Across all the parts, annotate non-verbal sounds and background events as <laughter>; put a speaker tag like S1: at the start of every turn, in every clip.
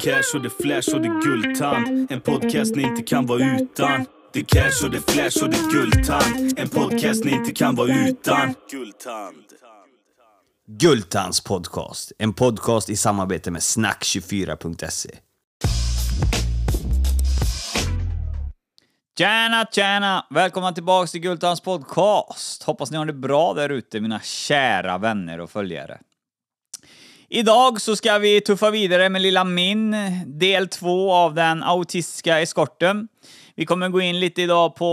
S1: cash och det är flash och det är guldtand. En podcast ni inte kan vara utan. Det är cash och det är flash och det är guldtand. En podcast ni inte kan vara utan.
S2: Gultans podcast. En podcast i samarbete med snack24.se.
S3: Tjena, tjena! Välkomna tillbaks till Gultans podcast. Hoppas ni har det bra där ute, mina kära vänner och följare. Idag så ska vi tuffa vidare med Lilla Min, del två av den autistiska eskorten. Vi kommer gå in lite idag på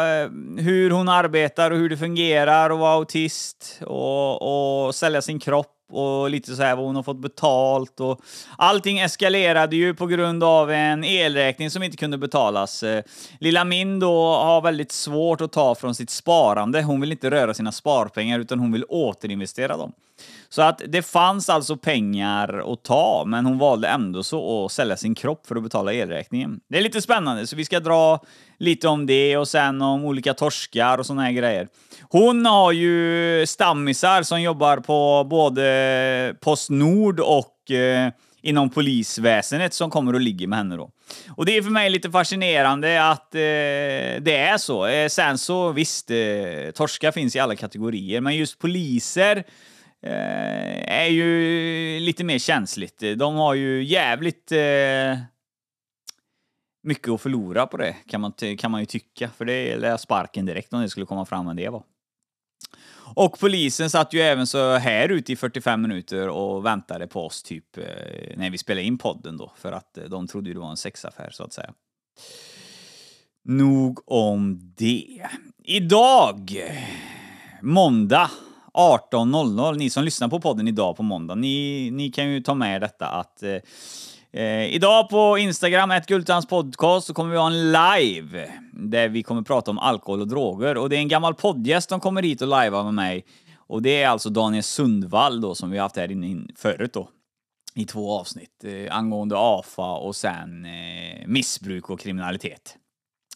S3: eh, hur hon arbetar och hur det fungerar att vara autist och, och sälja sin kropp och lite så här vad hon har fått betalt och allting eskalerade ju på grund av en elräkning som inte kunde betalas. Eh, Lilla Min då har väldigt svårt att ta från sitt sparande. Hon vill inte röra sina sparpengar utan hon vill återinvestera dem. Så att det fanns alltså pengar att ta, men hon valde ändå så att sälja sin kropp för att betala elräkningen. Det är lite spännande, så vi ska dra lite om det och sen om olika torskar och såna här grejer. Hon har ju stammisar som jobbar på både Postnord och eh, inom polisväsendet som kommer och ligger med henne då. Och det är för mig lite fascinerande att eh, det är så. Eh, sen så visst, eh, torskar finns i alla kategorier, men just poliser eh, är ju lite mer känsligt. De har ju jävligt eh, mycket att förlora på det, kan man, ty- kan man ju tycka. För det är lär sparken direkt om det skulle komma fram än det var. Och polisen satt ju även så här ute i 45 minuter och väntade på oss typ eh, när vi spelade in podden då, för att eh, de trodde ju det var en sexaffär så att säga. Nog om det. Idag måndag 18.00. Ni som lyssnar på podden idag på måndag, ni, ni kan ju ta med er detta att eh, eh, idag på Instagram, ett Gultans podcast, så kommer vi ha en live där vi kommer prata om alkohol och droger. Och det är en gammal poddgäst som kommer hit och lajvar med mig. Och det är alltså Daniel Sundvall då, som vi har haft här inne in- förut då i två avsnitt eh, angående AFA och sen eh, missbruk och kriminalitet.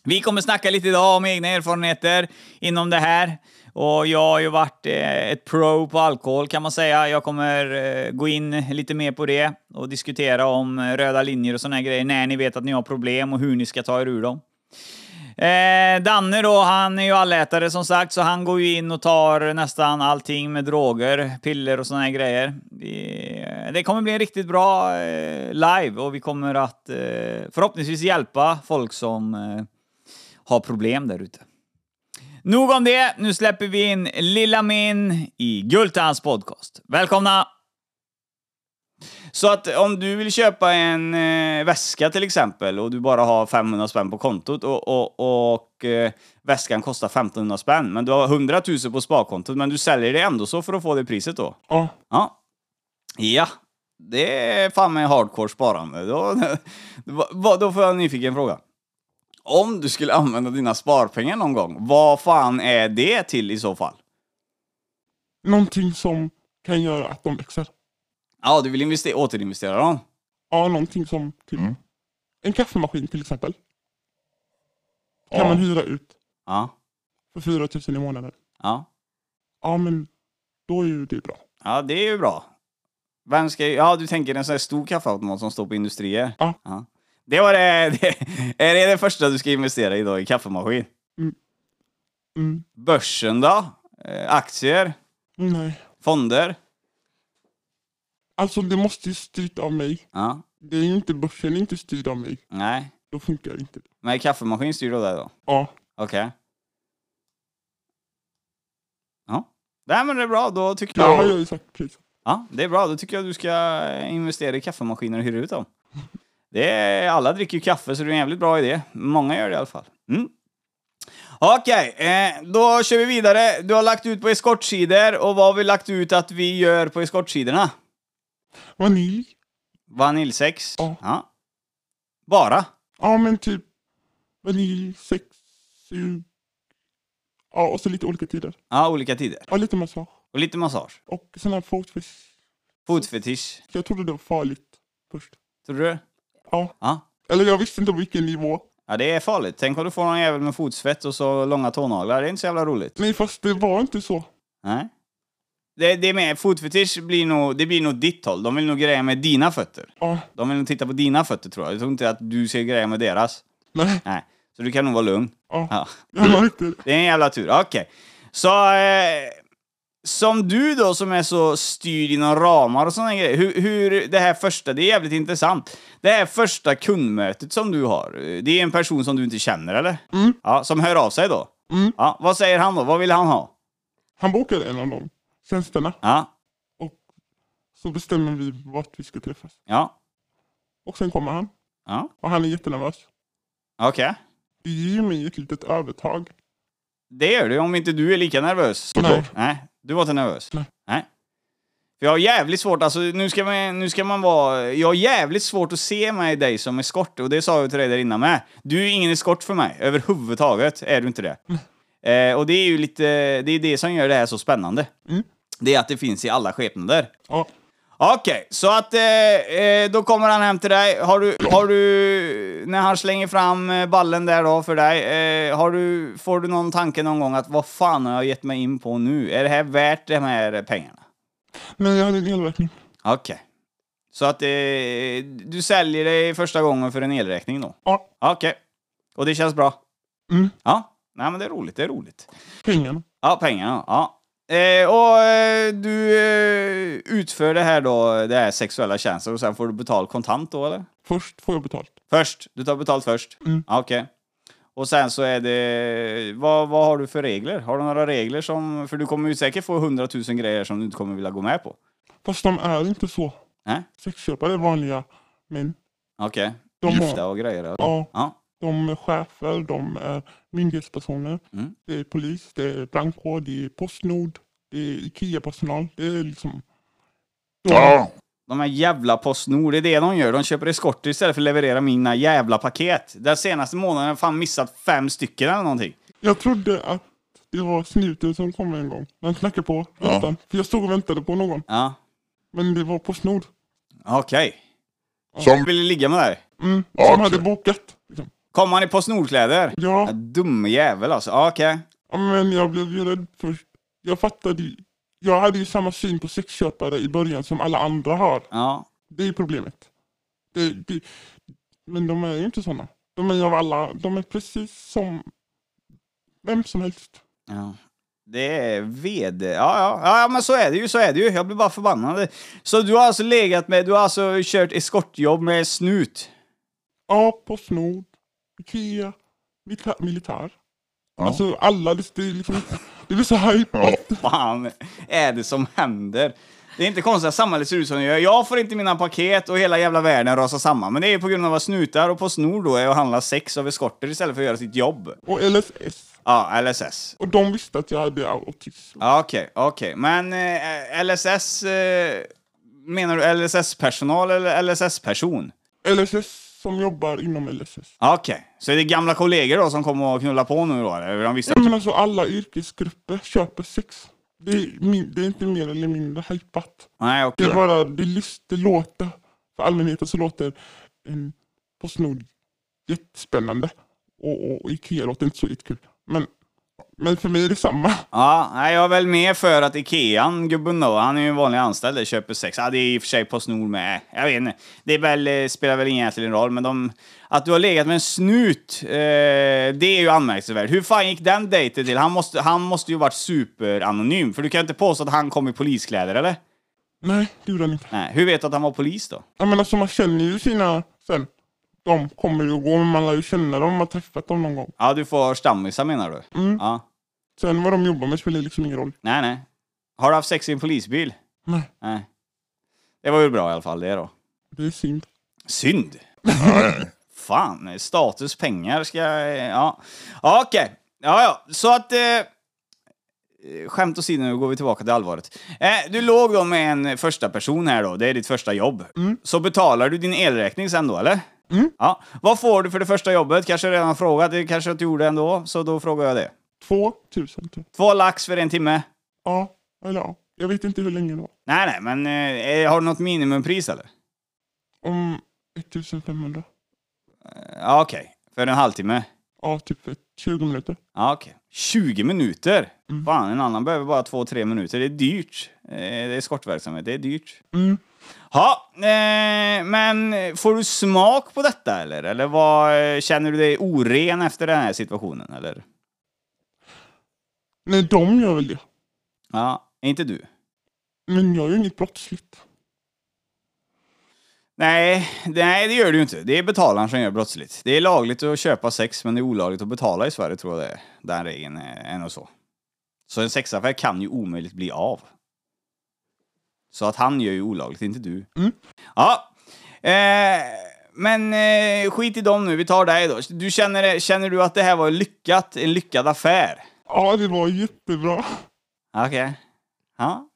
S3: Vi kommer snacka lite idag om egna erfarenheter inom det här. Och jag har ju varit eh, ett pro på alkohol kan man säga. Jag kommer eh, gå in lite mer på det och diskutera om eh, röda linjer och såna här grejer när ni vet att ni har problem och hur ni ska ta er ur dem. Eh, Danne då, han är ju allätare som sagt, så han går ju in och tar nästan allting med droger, piller och såna här grejer. Vi, eh, det kommer bli en riktigt bra eh, live och vi kommer att eh, förhoppningsvis hjälpa folk som eh, har problem där ute. Nog om det, nu släpper vi in Lilla Min i Gultans podcast. Välkomna! Så att om du vill köpa en eh, väska till exempel och du bara har 500 spänn på kontot och, och, och eh, väskan kostar 1500 spänn men du har 100 000 på sparkontot men du säljer det ändå så för att få det priset då?
S4: Ja.
S3: Ja. Ja. Det är fan med hardcore sparande. Då, <laughs> vad- då får jag en nyfiken fråga. Om du skulle använda dina sparpengar någon gång, vad fan är det till i så fall?
S4: Någonting som kan göra att de växer.
S3: Ja, du vill investera, återinvestera dem?
S4: Ja, någonting som typ en kaffemaskin till exempel. Kan man hyra ut
S3: Ja.
S4: för 4 000 i månaden.
S3: Ja.
S4: Ja, men då är ju det bra.
S3: Ja, det är ju bra. Vem ska... Ja, du tänker en sån här stor kaffeautomat som står på industrier?
S4: Ja.
S3: Det var det, <laughs> det... Är det det första du ska investera i då, i kaffemaskin?
S4: Mm.
S3: Börsen då? Eh, Aktier?
S4: Nej.
S3: Fonder?
S4: Alltså, det måste ju styrt av mig.
S3: Ja.
S4: Det är ju inte börsen är inte styrd av mig.
S3: Nej.
S4: Då funkar inte det.
S3: Men kaffemaskin styr du det då?
S4: Ja.
S3: Okej. Ja. Nej men det är bra, då tycker
S4: Det har
S3: jag...
S4: jag ju sagt precis.
S3: Ja, det är bra. Då tycker jag du ska investera i kaffemaskiner och hyra ut dem. Det är, alla dricker ju kaffe så det är en jävligt bra idé. Många gör det i alla fall. Mm. Okej, eh, då kör vi vidare. Du har lagt ut på eskortsidor och vad har vi lagt ut att vi gör på eskortsidorna?
S4: Vanilj.
S3: Vaniljsex?
S4: Ja.
S3: Ja. Bara?
S4: Ja, men typ vanilj, sex, sug. Ja, och så lite olika tider.
S3: Ja, olika tider.
S4: Ja, lite massage.
S3: Och lite massage.
S4: Och sån här fotfisk.
S3: Fotfetisch.
S4: Jag trodde det var farligt först.
S3: Tror du det?
S4: Ja.
S3: Ja.
S4: Eller jag visste inte på vilken nivå.
S3: Ja, det är farligt. Tänk om du får någon jävel med fotsvett och så långa tånaglar. Det är inte så jävla roligt.
S4: Nej, fast det var inte så.
S3: Nej. Det, det är med, fotfetisch blir nog, det blir nog ditt håll. De vill nog greja med dina fötter.
S4: Ja,
S3: De vill nog titta på dina fötter tror jag. Jag tror inte att du ska greja med deras.
S4: nej.
S3: Nej. Så du kan nog vara lugn.
S4: Ja,
S3: Ja.
S4: jag märkte det.
S3: Det är en jävla tur. Okej. Så... Eh, som du då som är så styrd inom ramar och sådana grejer. Hur, hur det här första, det är jävligt intressant. Det här första kundmötet som du har. eh, Det är en person som du inte känner eller?
S4: Mm.
S3: Ja, som hör av sig då.
S4: Mm.
S3: Ja, vad säger han då? Vad vill han ha?
S4: Han bokade en av de tjänsterna
S3: Ja,
S4: och så bestämmer vi vart vi ska träffas.
S3: ja,
S4: Och sen kommer han
S3: ja.
S4: och han är jättenervös.
S3: Okej.
S4: Det ger mig ett litet övertag.
S3: Det gör du om inte du är lika nervös.
S4: Nej.
S3: Nej, du var inte nervös?
S4: Nej.
S3: För jag har jävligt svårt, alltså nu ska, man, nu ska man vara... Jag har jävligt svårt att se mig dig som eskort, och det sa jag till dig där innan med. Du är ingen eskort för mig, överhuvudtaget är du inte det. Eh, och det är ju lite... Det är det som gör det här så spännande.
S4: Mm.
S3: Det är att det finns i alla skepnader.
S4: Ja,
S3: Okej, så att eh, eh, då kommer han hem till dig. Har du, har du, när han slänger fram eh, ballen där då för dig, eh, har du, får du någon tanke någon gång att vad fan har jag gett mig in på nu? Är det här värt de här pengarna?
S4: men jag hade en elräkning.
S3: Okej. Så att eh, du säljer dig första gången för en elräkning då?
S4: Ja,
S3: Okej. Och det känns bra?
S4: Mm.
S3: Ja. Nej men det är roligt, det är roligt.
S4: pengarna.
S3: Ja, pengarna. Ja. Eh, och eh, du eh, utför det här då, det här sexuella tjänsten och sen får du betalt kontant då eller?
S4: Först får jag betalt.
S3: Först? Du tar betalt först?
S4: Mm.
S3: Ja, Okej. Och sen så är det... Vad, vad har du för regler? Har du några regler som... För du kommer ju säkert få hundratusen grejer som du inte kommer vilja gå med på.
S4: Fast de är inte så.
S3: Nej?
S4: Sexköpare är vanliga män.
S3: Okej.
S4: De har-
S3: Gifta och grejer? eller?
S4: Mm. Ja,
S3: Ja.
S4: de är chefer, de är myndighetspersoner.
S3: Mm.
S4: Det är polis, det är brandkår, det är Postnord, det är IKEA-personal. Det är liksom... De,
S5: Ja,
S3: De här jävla Postnord, det är det de gör. De köper eskorter istället för att leverera mina jävla paket. Den senaste månaden har jag fan missat fem stycken eller någonting.
S4: Jag trodde att det var snuten som kom en gång. Den knackade på rutan. För jag stod och väntade på någon.
S3: Ja.
S4: Men det var Postnord.
S3: Okej.
S5: som...
S3: Vill du ligga med dig?
S4: Mm,
S5: Ja,
S4: som hade
S5: okej.
S4: bokat. Liksom.
S3: Kom han i Postnordkläder? Ja,
S4: Ja,
S3: dum jävel alltså. Ja, Okej.
S4: ja, men jag blev ju rädd först. Jag fattade ju. Jag hade ju samma syn på sexköpare i början som alla andra har.
S3: Ja.
S4: Det är problemet. Det, det, men de är ju inte såna. De är ju av alla. De är precis som vem som helst.
S3: Ja. Det är ved... Ja, ja, ja, ja, men så är det ju, så är det ju. Jag blir bara förbannad. Så du har alltså legat med, du har alltså kört eskortjobb med snut?
S4: Ja, Postnord, Ikea, milita- militär.
S5: Ja.
S4: Alltså alla, det, det, är liksom, det blir så hype.
S5: Ja.
S3: Fan, är det som händer? Det är inte konstigt att samhället ser ut som det gör. Jag får inte mina paket och hela jävla världen rasar samman. Men det är ju på grund av att snutar och Postnord då är att handla sex av eskorter istället för att göra sitt jobb.
S4: Och LSS.
S3: Ja, LSS.
S4: Och de visste att jag hade autism.
S3: Ja, Okej, okej. Men eh, LSS... Eh, menar du LSS-personal eller LSS-person?
S4: LSS som jobbar inom LSS.
S3: Ja, Okej, så är det gamla kollegor då som kommer och knulla på nu då? Eller? De visste...
S4: Ja, men alltså alla yrkesgrupper köper sex. Det är, min, det är inte mer eller mindre hajpat.
S3: Nej,
S4: Det
S3: okej.
S4: är bara, det, lys- det låter, för allmänheten så låter en Postnord jättespännande. Och, och, och Ikea låter inte så jättekul. Men, men för mig är det samma.
S3: Ja, nej, jag är väl med för att Ikean, gubben då, han är ju en vanlig anställd där, köper sex. Ja, det är i och för sig Postnord med. Jag vet inte. Det är väl, eh, spelar väl ingen egentligen roll, men de, att du har legat med en snut, eh, det är ju anmärkningsvärt. Hur fan gick den dejten till? Han måste, han måste ju varit superanonym, för du kan inte påstå att han kom i poliskläder, eller?
S4: Nej, det gjorde han inte.
S3: Nej, hur vet du att han var polis då?
S4: Jag menar, så man känner ju sina sen. De kommer ju och går, men man lär ju känna dem, man har träffat dem någon gång.
S3: Ja, du får stammisar menar du?
S4: Mm.
S3: Ja.
S4: Sen vad de jobbar med spelar liksom ingen roll.
S3: Nej, nej. Har du haft sex i en polisbil?
S4: Nej,
S3: Nej. Det var ju bra i alla fall det då.
S4: det är synd.
S3: Synd.
S5: Nej.
S3: Fan, status, pengar ska... Ja, ja okej. Ja, ja. Så att... Eh, skämt åsido, nu går vi tillbaka till allvaret. Eh, du låg då med en första person här då, det är ditt första jobb. Så betalar du din elräkning sen då, eller?
S4: Mm.
S3: Ja. Vad får du för det första jobbet? Kanske jag redan frågat, det kanske jag inte gjorde ändå, så då frågar jag det.
S4: Två tusen typ.
S3: Två lax för en timme?
S4: Ja, eller ja. Jag vet inte hur länge det var.
S3: Nej, nej, men eh, har du något minimumpris eller?
S4: Om 1500.
S3: Ja, okej. För en halvtimme?
S4: Ja, typ ett 20 minuter.
S3: Ja, okej. 20 minuter? Fan, en annan behöver bara 2-3 minuter. Det är dyrt. Eh, Det är eskortverksamhet, det är dyrt.
S4: Mm.
S3: Ja, eh, men får du smak på detta eller? Eller vad, eh, känner du dig oren efter den här situationen eller?
S4: Nej, de gör väl det.
S3: Ja, inte du?
S4: Men jag är ju inget brottsligt.
S3: Nej, nej, det gör du ju inte. Det är betalaren som gör brottsligt. Det är lagligt att köpa sex, men det är olagligt att betala i Sverige tror jag det är. Den regeln är är nog så. Så en sexaffär kan ju omöjligt bli av. Så att han gör ju olagligt, inte du.
S4: Mm.
S3: Ja. Eh, men eh, skit i dem nu, vi tar dig då. Du känner, känner du att det här var lyckat? En lyckad affär?
S4: Ja, det var jättebra.
S3: Okej. Ja.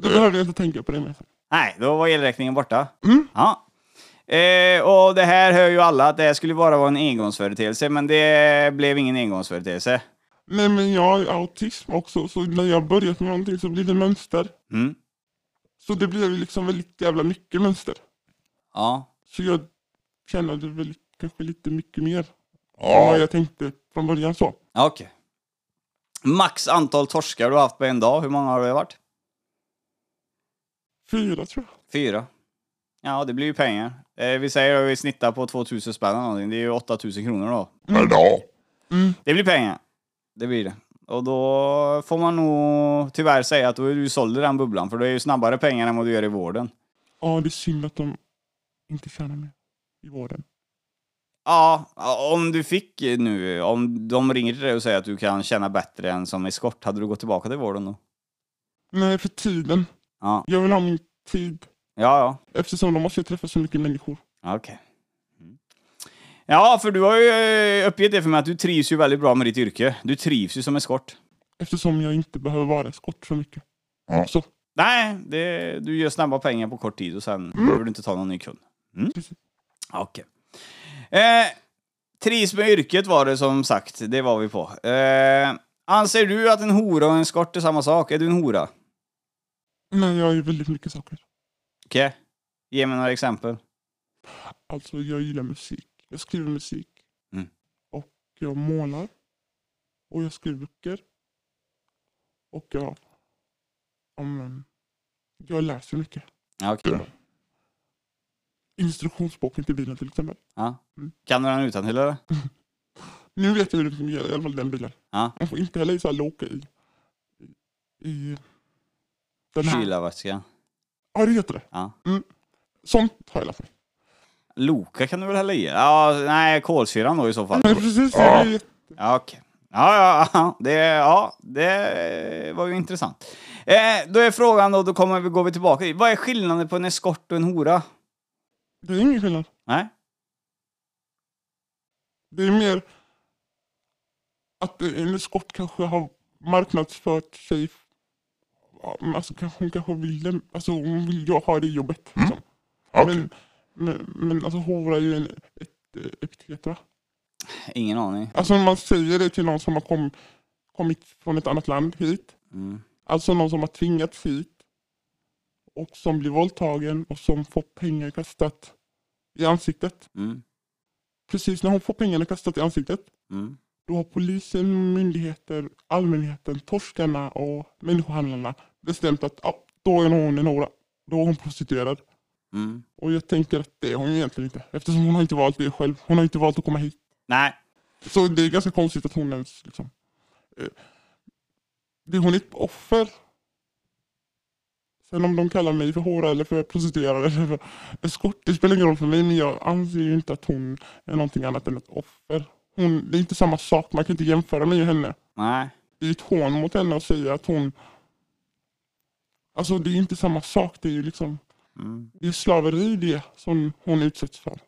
S4: Då behöver jag inte tänka på det mer.
S3: Nej, då var elräkningen borta.
S5: Mm.
S3: Ja. Eh, och det här hör ju alla att det här skulle bara vara en engångsföreteelse, men det blev ingen engångsföreteelse.
S4: Nej, men jag har ju autism också, så när jag börjat med någonting så blir det mönster.
S3: Mm.
S4: Så det blir ju liksom väldigt jävla mycket mönster.
S3: Ja.
S4: Så jag tjänade väl kanske lite mycket mer än vad
S5: Ja.
S4: jag tänkte från början så.
S3: Ja, Okej. Max antal torskar du har haft på en dag, hur många har det varit?
S4: Fyra tror jag.
S3: Fyra. Ja, det blir ju pengar. Eh, vi säger att vi snittar på 2000 spänn eller någonting, det är ju 8000 kronor då.
S5: Mm.
S3: Mm.
S5: Per dag.
S3: Det blir pengar. Det blir det. Och då får man nog tyvärr säga att då är du såld i den bubblan, för det är ju snabbare pengar än vad du gör i vården.
S4: Ja, det är synd att de inte tjänar mer i vården.
S3: Ja, om du fick nu, om de ringer till dig och säger att du kan tjäna bättre än som eskort, hade du gått tillbaka till vården då?
S4: Nej, för tiden.
S3: Ja,
S4: Jag vill ha min tid.
S3: ja,
S4: Eftersom de måste ju träffa så mycket människor.
S3: ja. okej. Mm. Ja, för du har ju eh, uppgett det för mig att du trivs ju väldigt bra med ditt yrke. Du trivs ju som eskort.
S4: Eftersom jag inte behöver vara skott så mycket.
S5: Ja.
S4: Så,
S3: Nej, det, du gör snabba pengar på kort tid och sen behöver du inte ta någon ny kund. Mm.
S4: Precis.
S3: Okej. Eh, trivs med yrket var det som sagt, det var vi på. Eh, anser du att en hora och en skort är samma sak? Är du en hora?
S4: nej, jag gör väldigt mycket saker.
S3: Okej. Ge mig några exempel.
S4: Alltså, jag gillar musik. Jag skriver musik.
S3: Mm.
S4: Och jag målar. Och jag skriver böcker. Och jag... Om, em, jag läser mycket.
S3: Ja, okej.
S4: Instruktionsboken till bilen till exempel.
S3: Ja. Kan du den utan till eller?
S4: Nu vet jag hur det fungerar, i alla fall den bilen.
S3: Ja.
S4: Man får inte heller så här åka i... I... Den här.
S3: Kylarvätskan.
S4: Ja, det heter det.
S3: Ja.
S4: Sånt har jag lärt mig.
S3: Loka kan du väl hälla i? Ja, nej, kolsyran då i så fall.
S4: Nej, precis.
S5: Ja.
S4: Jag vet.
S3: Ja, okej. Ja, ja, ja, det, ja, det var ju intressant. Eh, då är frågan då, då kommer vi, går vi tillbaka till, vad är skillnaden på en eskort och en hora?
S4: Det är ingen skillnad.
S3: Nej?
S4: Det är mer att en eskort kanske har marknadsfört sig. Ja, men Alltså, kanske, hon kanske ville, alltså, hon vill ju ha det jobbet. Liksom.
S5: Okej.
S4: Men, men, men alltså hora är ju en, ett eh, epitet va?
S3: Ingen aning.
S4: Alltså om man säger det till någon som har kom, kommit från ett annat land hit.
S3: Mm.
S4: Alltså någon som har tvingats hit. Och som blir våldtagen och som får pengar kastat i ansiktet.
S3: Mm.
S4: Precis när hon får pengarna kastat i ansiktet
S3: Mm.
S4: Då har polisen, myndigheter, allmänheten, torskarna och människohandlarna bestämt att ah, då är hon en hora. Då är hon prostituerad.
S3: Mm.
S4: Och jag tänker att det är hon ju egentligen inte. Eftersom hon har inte valt det själv. Hon har inte valt att komma hit.
S3: Nej.
S4: Så det är ganska konstigt att hon ens liksom... Eh, det hon är ett offer. Sen om de kallar mig för hora eller för prostituerad eller för eskort, det spelar ingen roll för mig. Men jag anser ju inte att hon är någonting annat än ett offer. Hon, det är inte samma sak, man kan inte jämföra mig och henne.
S3: Nej.
S4: Det är ett hån mot henne att säga att hon... Alltså det är inte samma sak, det är ju liksom...
S3: Mm.
S4: Det är slaveri det som hon utsätts för.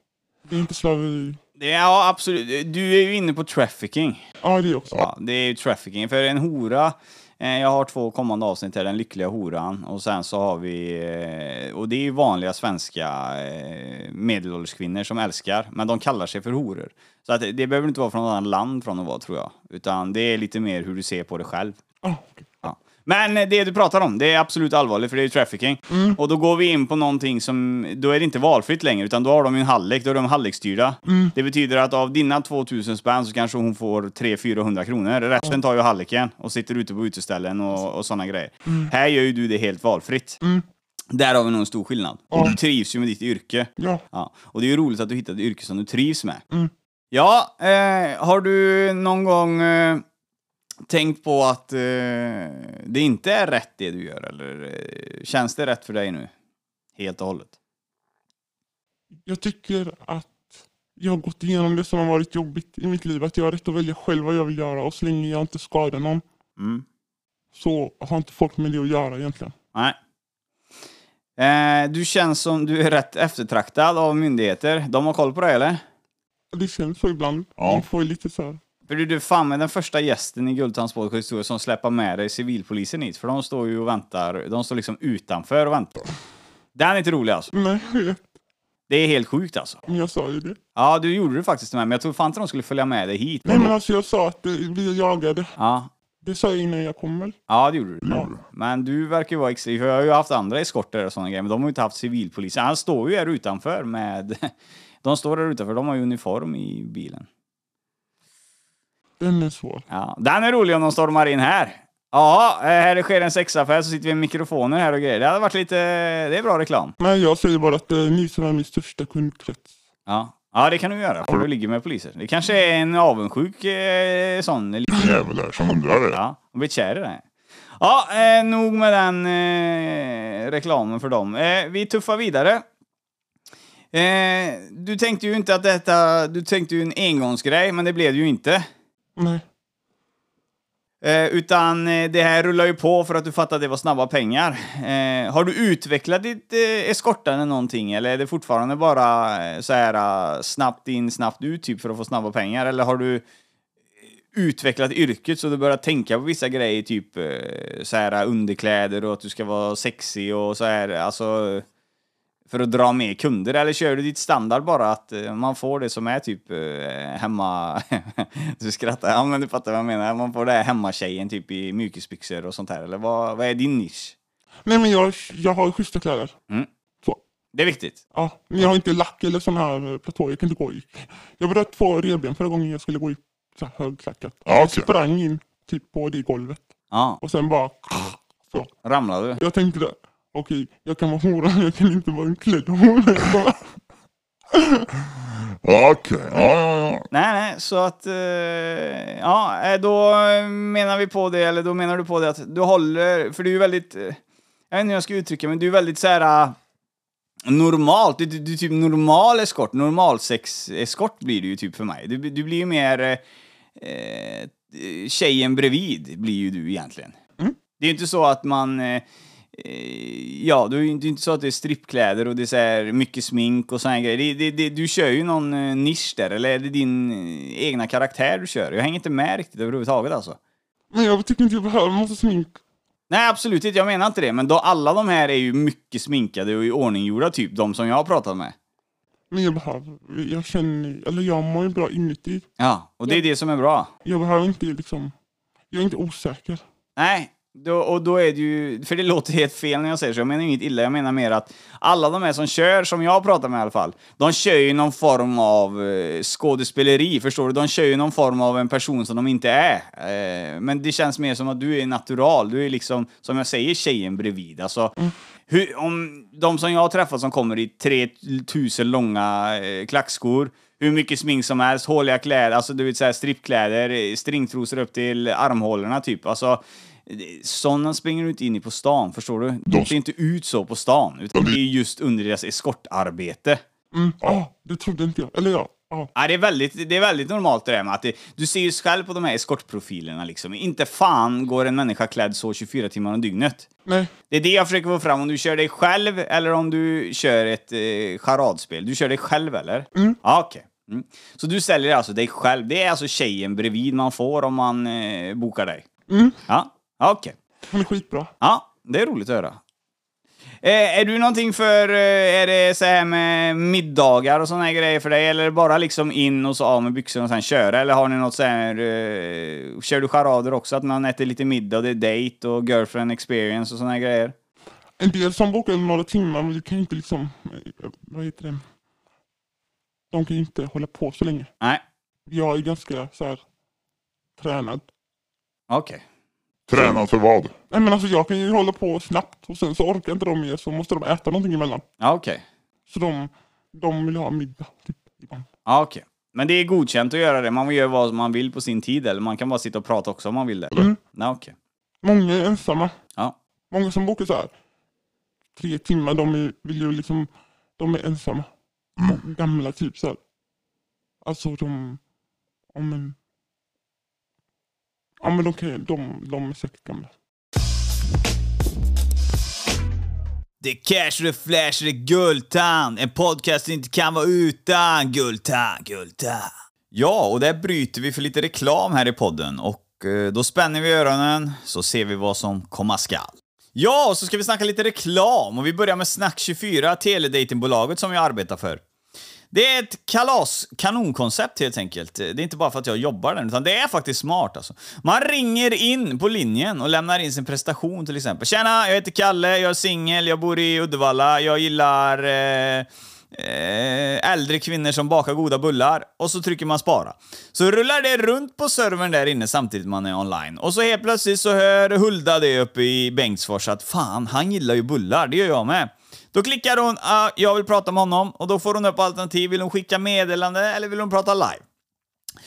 S4: Det är inte slaveri.
S3: Det, ja, absolut. Du är ju inne på trafficking.
S4: Ja, det är också.
S3: Ja, det är ju trafficking. För en hora, eh, jag har två kommande avsnitt här, den lyckliga horan och sen så har vi, eh, och det är ju vanliga svenska eh, medelålders kvinnor som älskar, men de kallar sig för horor. Så att det, det behöver inte vara från något annat land från att vara tror jag, utan det är lite mer hur du ser på det själv.
S4: Ah, okej.
S3: Ja. Men eh, det du pratar om, det är absolut allvarligt för det är ju trafficking. Och då går vi in på någonting som, då är det inte valfritt längre utan då har de ju en hallick, då är de hallickstyrda. Det betyder att av dina 2000 spänn så kanske hon får 300-400 kronor. Resten tar ju hallicken och sitter ute på uteställen och, och sådana grejer. Här gör ju du det helt valfritt. Där har vi nog en stor skillnad. Och du trivs ju med ditt yrke.
S4: Ja,
S3: Ja. Och det är ju roligt att du hittat ett yrke som du trivs med. Ja, eh, har du någon gång eh, tänkt på att eh, det inte är rätt det du gör? Eller eh, känns det rätt för dig nu? Helt och hållet?
S4: jag tycker att jag har gått igenom det som har varit jobbigt i mitt liv. Att jag har rätt att välja själv vad jag vill göra och så länge jag inte skadar någon
S3: Mm.
S4: så har inte folk med det att göra egentligen.
S3: Nej. Eh, du känns som du är rätt eftertraktad av myndigheter. De har koll på dig eller?
S4: Det känns så ibland.
S5: Ja.
S4: Man får ju lite så här.
S3: För du, du är fan med den första gästen i Guldtands podcast historia som släpper med dig civilpolisen hit. För de står ju och väntar. De står liksom utanför och väntar. Den är inte rolig alltså.
S4: Nej, <laughs> jag vet.
S3: Det är helt sjukt alltså.
S4: Men jag sa ju det.
S3: Ja, du gjorde det faktiskt med, men jag tror fan inte de skulle följa med dig hit.
S4: Nej men alltså jag sa att eh, vi är jagade.
S3: Ja,
S4: Det sa jag innan jag kom väl?
S3: ja, det gjorde du.
S5: Ja.
S3: Men du verkar ju vara ex... för Jag har ju haft andra eskorter och sådana grejer, men de har ju inte haft civilpolisen. Han står ju här utanför med... <laughs> De står där utanför, de har ju uniform i bilen.
S4: Den är svår.
S3: Ja, den är rolig om de stormar in här. Ja, eh, här sker en sexaffär så sitter vi med mikrofoner här och grejer. Det hade varit lite... Det är bra reklam.
S4: Nej jag säger bara att eh, ni som är min största kundkrets.
S3: Ja. Ja, det kan du göra, för du ligger med poliser. Det kanske är en avundsjuk eh, sån
S5: En jävel där som undrar det.
S3: Ja, hon blir kär i det. Ja, eh, nog med den eh, reklamen för dem. Eh, vi tuffar vidare. Eh, du tänkte ju inte att detta... Du tänkte ju en engångsgrej, men det blev det ju inte.
S4: Nej.
S3: Eh, utan eh, det här rullar ju på för att du fattade att det var snabba pengar. Eh, har du utvecklat ditt eh, eskortande någonting, eller är det fortfarande bara eh, så här eh, snabbt in, snabbt ut, typ för att få snabba pengar? Eller har du eh, utvecklat yrket så du börjar tänka på vissa grejer, typ eh, så här eh, underkläder och att du ska vara sexig och så här, alltså eh, för att dra med kunder? Eller kör du ditt standard bara att eh, man får det som är typ eh, hemma... <laughs> du skrattar, ja men du fattar vad jag menar. Man får det här hemmatjejen typ i mjukisbyxor och sånt här. Eller vad, vad är din nisch?
S4: Nej men jag, jag har ju schyssta kläder.
S3: Det är viktigt.
S4: Ja, men jag har inte lack eller sån här eh, platå. Jag kan inte gå i. Jag bröt två revben förra gången jag skulle gå i så här högklackat.
S5: Ja,
S4: Jag
S5: okej.
S4: sprang in typ på det golvet
S3: Ja,
S4: och sen bara så.
S3: ramlar du?
S4: Jag tänkte där, okej, jag kan vara hora, jag kan inte vara en klädd hora.
S5: Ja, <laughs> Okej, ja, ja, ja.
S3: Nej, nej, så att... eh, ja, eh, då menar vi på det, eller då menar du på det att du håller... För du är ju väldigt... eh, jag vet inte hur jag ska uttrycka men du är väldigt så här... eh, normalt, du, du, du är typ normal eskort, normal sex eskort blir du ju typ för mig. Du, du blir ju mer... eh, eh, tjejen bredvid blir ju du egentligen. Det är ju inte så att man... eh, eh, Ja, det är ju inte det är inte så att det är strippkläder och det är så här mycket smink och såna grejer. Det, det, det, du kör ju någon eh, nisch där, eller är det din eh, egna karaktär du kör? Jag hänger inte med riktigt överhuvudtaget alltså.
S4: Men jag tycker inte jag behöver massa smink.
S3: Nej, absolut inte. Jag menar inte det. Men då, alla de här är ju mycket sminkade och i ordninggjorda, typ de som jag har pratat med.
S4: Men jag behöver, jag känner, eller jag mår ju bra inuti.
S3: Ja, och det är det som är bra.
S4: Jag behöver inte liksom, jag är inte osäker.
S3: Nej, då, och då är det ju... För det låter helt fel när jag säger så. Jag menar inget illa, jag menar mer att alla de här som kör, som jag pratar med i alla fall, de kör ju någon form av eh, skådespeleri, förstår du? De kör ju någon form av en person som de inte är. Eh, men det känns mer som att du är natural. Du är liksom, som jag säger, tjejen bredvid. Alltså, hur, om de som jag har träffat som kommer i 3000 långa eh, klackskor, hur mycket smink som helst, håliga kläder, alltså du vet såhär strippkläder, eh, stringtrosor upp till armhålorna typ. Alltså, sådana springer du inte in i på stan, förstår du? De ser inte ut så på stan, utan det är ju just under deras eskortarbete.
S4: Mm, ah, det trodde inte jag. Eller ja, ah.
S3: Ja, det, är väldigt, det är väldigt normalt det där med att det, du ser ju själv på de här eskortprofilerna liksom. Inte fan går en människa klädd så 24 timmar om dygnet.
S4: Nej,
S3: Det är det jag försöker få fram, om du kör dig själv eller om du kör ett eh, charadspel. Du kör dig själv eller? Mm. Ja, okej. Mm. Så du säljer alltså dig själv. Det är alltså tjejen bredvid man får om man eh, bokar dig? Mm. Ja, Ja, okej.
S4: han är skitbra.
S3: Ja, det är roligt att höra. Eh, är du någonting för, eh, är det så här med middagar och såna här grejer för dig? Eller är det bara liksom in och så av med byxorna och sen köra? Eller har ni något så här, eh, kör du charader också? Att man äter lite middag och det är date och girlfriend experience och såna här grejer?
S4: En del som bokar några timmar, men vi kan ju inte liksom, eh, vad heter det? De kan ju inte hålla på så länge.
S3: Nej,
S4: Jag är ganska så här tränad.
S3: okej.
S5: Tränad för vad?
S4: Nej men alltså jag kan ju hålla på snabbt och sen så orkar inte de mer så måste de äta någonting emellan.
S3: Ja, okej.
S4: Så de, de vill ha middag typ ibland.
S3: Ja, okej. Men det är godkänt att göra det. Man gör vad man vill på sin tid, eller man kan bara sitta och prata också om man vill det.
S4: Mm.
S3: Ja, okej.
S4: Många är ensamma.
S3: Ja.
S4: Många som bokar så här tre timmar, de är, vill ju liksom, de är ensamma. Gamla typ så här. Alltså de, ja men. Ja men de kan ju, de, de är säkert gamla.
S2: Det är cash, det är flash, det är guldtand. En podcast inte kan vara utan guldtand, guldtand.
S3: Ja, och där bryter vi för lite reklam här i podden och eh, då spänner vi öronen så ser vi vad som komma skall. Ja, och så ska vi snacka lite reklam och vi börjar med Snack24, teledatingbolaget som jag arbetar för. Det är ett kalas kanonkoncept helt enkelt. Det är inte bara för att jag jobbar där, utan det är faktiskt smart alltså. Man ringer in på linjen och lämnar in sin prestation till exempel. Tjena, jag heter Kalle, jag är singel, jag bor i Uddevalla, jag gillar eh, eh, äldre kvinnor som bakar goda bullar. Och så trycker man spara. Så rullar det runt på servern där inne samtidigt man är online. Och så helt plötsligt så hör Hulda det uppe i Bengtsfors att fan, han gillar ju bullar, det gör jag med. Då klickar hon ah, “Jag vill prata med honom” och då får hon upp alternativ. Vill hon skicka meddelande eller vill hon prata live?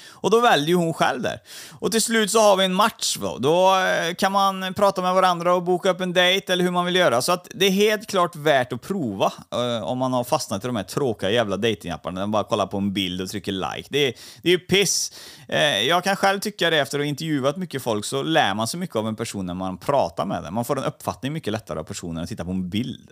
S3: Och då väljer hon själv där. Och till slut så har vi en match då. Då eh, kan man prata med varandra och boka upp en dejt eller hur man vill göra. Så att det är helt klart värt att prova eh, om man har fastnat i de här tråkiga jävla dejtingapparna. Där man bara kollar på en bild och trycker like. Det är, det är ju piss. Eh, jag kan själv tycka det efter att ha intervjuat mycket folk så lär man sig mycket av en person när man pratar med den. Man får en uppfattning mycket lättare av personen än att titta på en bild.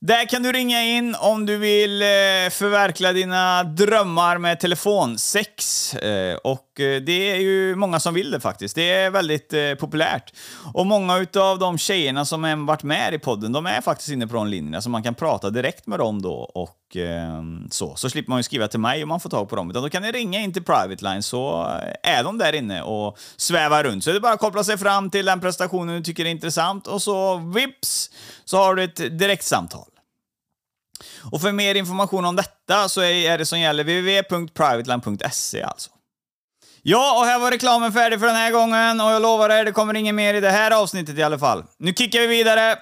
S3: Där kan du ringa in om du vill eh, förverkliga dina drömmar med telefonsex. Eh, Och eh, det är ju många som vill det faktiskt. Det är väldigt eh, populärt. Och många utav de tjejerna som har varit med i podden, de är faktiskt inne på de linjerna, så man kan prata direkt med dem då och eh, så. Så slipper man ju skriva till mig om man får tag på dem, utan då kan ni ringa in till Private Line så eh, är de där inne och svävar runt. Så det är bara att koppla sig fram till den prestationen du tycker är intressant och så vips så har du ett direkt samtal. Och för mer information om detta så är är det som gäller www.privateline.se alltså. Ja, och här var reklamen färdig för den här gången och jag lovar er, det kommer inget mer i det här avsnittet i alla fall. Nu kickar vi vidare!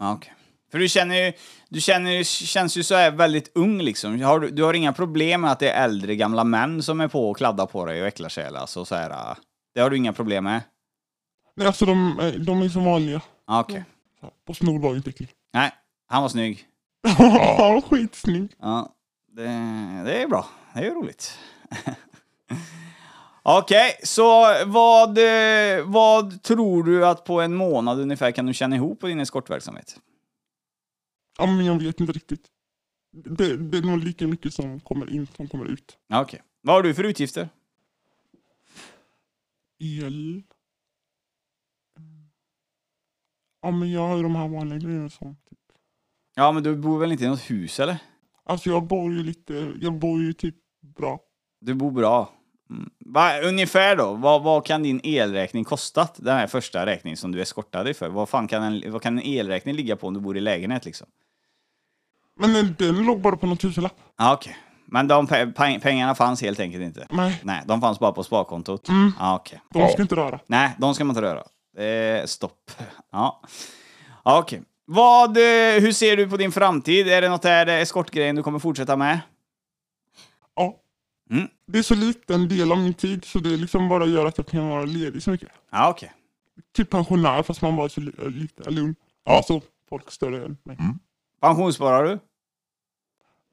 S3: Ja, Okej. För du känner ju, du känner ju, känns ju så här väldigt ung liksom. Har, du- du har inga problem med att det är äldre gamla män som är på och kladdar på dig och äcklar sig eller alltså, så här. äh, Det har du inga problem med?
S4: Nej alltså de, eh, de är som vanliga.
S3: Ja, Okej.
S4: Så här, Postnord var ju inte <laughs> äcklig.
S3: Nej, han var snygg.
S4: Ja, skitsnygg.
S3: Ja, det, det är bra. Det är ju roligt. <laughs> Okej, så vad, eh, vad tror du att på en månad ungefär kan du tjäna ihop på din eskortverksamhet?
S4: Ja men jag vet inte riktigt. Det, det är nog lika mycket som kommer in som kommer ut.
S3: Ja, Okej. Vad har du för utgifter?
S4: El. Mm. Ja men jag har ju de här vanliga grejerna som typ.
S3: Ja, men du bor väl inte i något hus eller?
S4: Alltså jag bor ju lite, jag bor ju typ bra.
S3: Du bor bra. Mm. Va, ungefär då, vad, vad kan din elräkning kostat? Den här första räkningen som du eskortade dig för. Vad fan kan en, vad kan en elräkning ligga på om du bor i lägenhet liksom?
S4: Men den, den låg bara på någon tusenlapp.
S3: Ja, okej. Men de pe- pe- pengarna fanns helt enkelt inte?
S4: Nej.
S3: Nej, de fanns bara på sparkontot? Ja, okej.
S4: De ska inte röra.
S3: Nej, de ska man inte röra. Eh, stopp. Ja. Ja, Okej. Vad, eh, hur ser du på din framtid? Är det något där eh, eskortgrejen du kommer fortsätta med?
S4: Ja.
S3: Mm.
S4: Det är så liten del av min tid så det liksom bara gör att jag kan vara ledig så mycket.
S3: Ja, okej.
S4: Typ pensionär fast man bara är så li- lite lugn. Alltså folk större än mig.
S3: Pensionssparar du?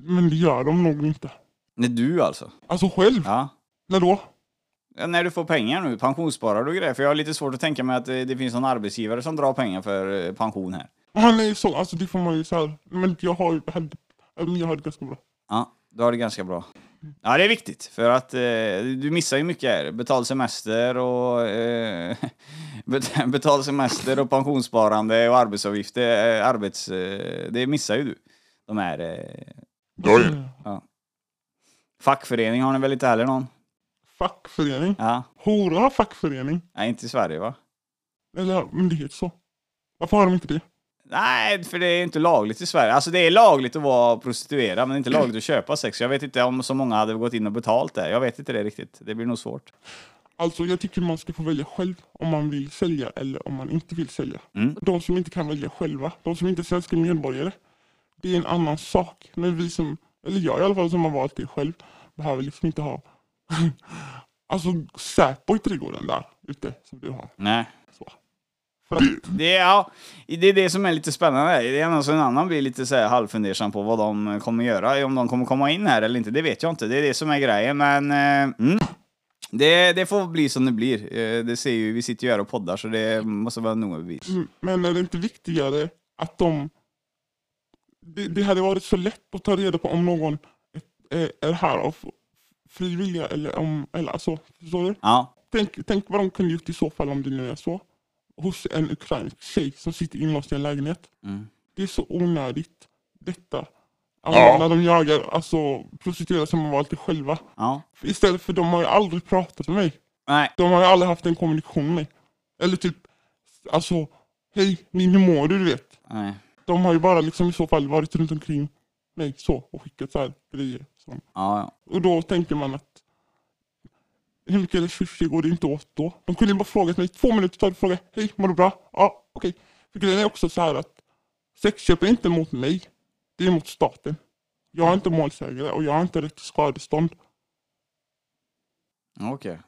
S4: Men det gör de nog inte.
S3: Nej, du alltså?
S4: Alltså själv?
S3: Ja.
S4: När då?
S3: Ja, När du får pengar nu, pensionssparar du och grejer? För jag har lite svårt att tänka mig att eh, det finns någon arbetsgivare som drar pengar för eh, pension här.
S4: Han är ju så, alltså det får man ju så här. Men jag har ju, hade- men jag har det ganska bra.
S3: Ja, du har det ganska bra. Ja, det är viktigt för att eh, du missar ju mycket här. Betald semester och... Eh, <laughs> bet- betald semester och pensionssparande och arbetsavgifter. Eh, arbets... Eh, det missar ju du. De här... Eh,
S5: Du har
S4: Alltså,
S5: ju,
S3: fackförening har ni väl inte heller någon?
S4: Fackförening?
S3: Ja.
S4: Hora har fackförening.
S3: Nej, inte i Sverige va?
S4: Eller men det heter så. Varför har de inte det?
S3: Nej, för det är inte lagligt i Sverige. Alltså det är lagligt att vara prostituerad, men det är inte lagligt att köpa sex. Jag vet inte om så många hade gått in och betalt det. Jag vet inte det riktigt. Det blir nog svårt.
S4: Alltså jag tycker man ska få välja själv om man vill sälja eller om man inte vill sälja.
S3: Mm.
S4: De som inte kan välja själva, de som inte är svenska medborgare, det är en annan sak. Men vi som, eller jag i alla fall som har valt det själv, behöver liksom inte ha <laughs> alltså Säpo i trädgården där ute som du har.
S3: Nej.
S4: För att,
S3: Det, är- ja, det är det som är lite spännande. Det är alltså en annan blir lite så här halvfundersam på vad de kommer göra. Om de kommer komma in här eller inte, det vet jag inte. Det är det som är grejen, men... eh, Mm. Det, det får bli som det blir. Eh, Det ser ju, vi sitter ju här och poddar, så det måste vara noga bevis.
S4: men är det inte viktigare att de... Det, det hade varit så lätt att ta reda på om någon eh, är här av fri vilja eller om, eller alltså, förstår du?
S3: Ja,
S4: Tänk, tänk vad de kunde gjort i så fall om det nu är så. Hos en ukrainsk tjej som sitter inlåst i en lägenhet.
S3: Mm.
S4: Det är så onödigt detta. Alltså,
S5: Ja.
S4: När de jagar alltså, prostituerade som har valt det själva.
S3: ja.
S4: För Istället för de har ju aldrig pratat med mig.
S3: Nej,
S4: De har ju aldrig haft en kommunikation med mig. Eller typ, alltså, hej, ni, hur mår du? Du vet.
S3: nej.
S4: De har ju bara liksom i så fall varit runt omkring mig så och skickat så här grejer. Så.
S3: Ja, ja.
S4: Och då tänker man att hur mycket resurser går det inte åt då? De kunde ju bara frågat mig två minuter tar och fråga hej mår du bra? Ja okej. För grejen är också så här att sexköp är inte mot mig. Det är mot staten. Jag är inte målsägare och jag har inte rätt till skadestånd.
S3: Okej.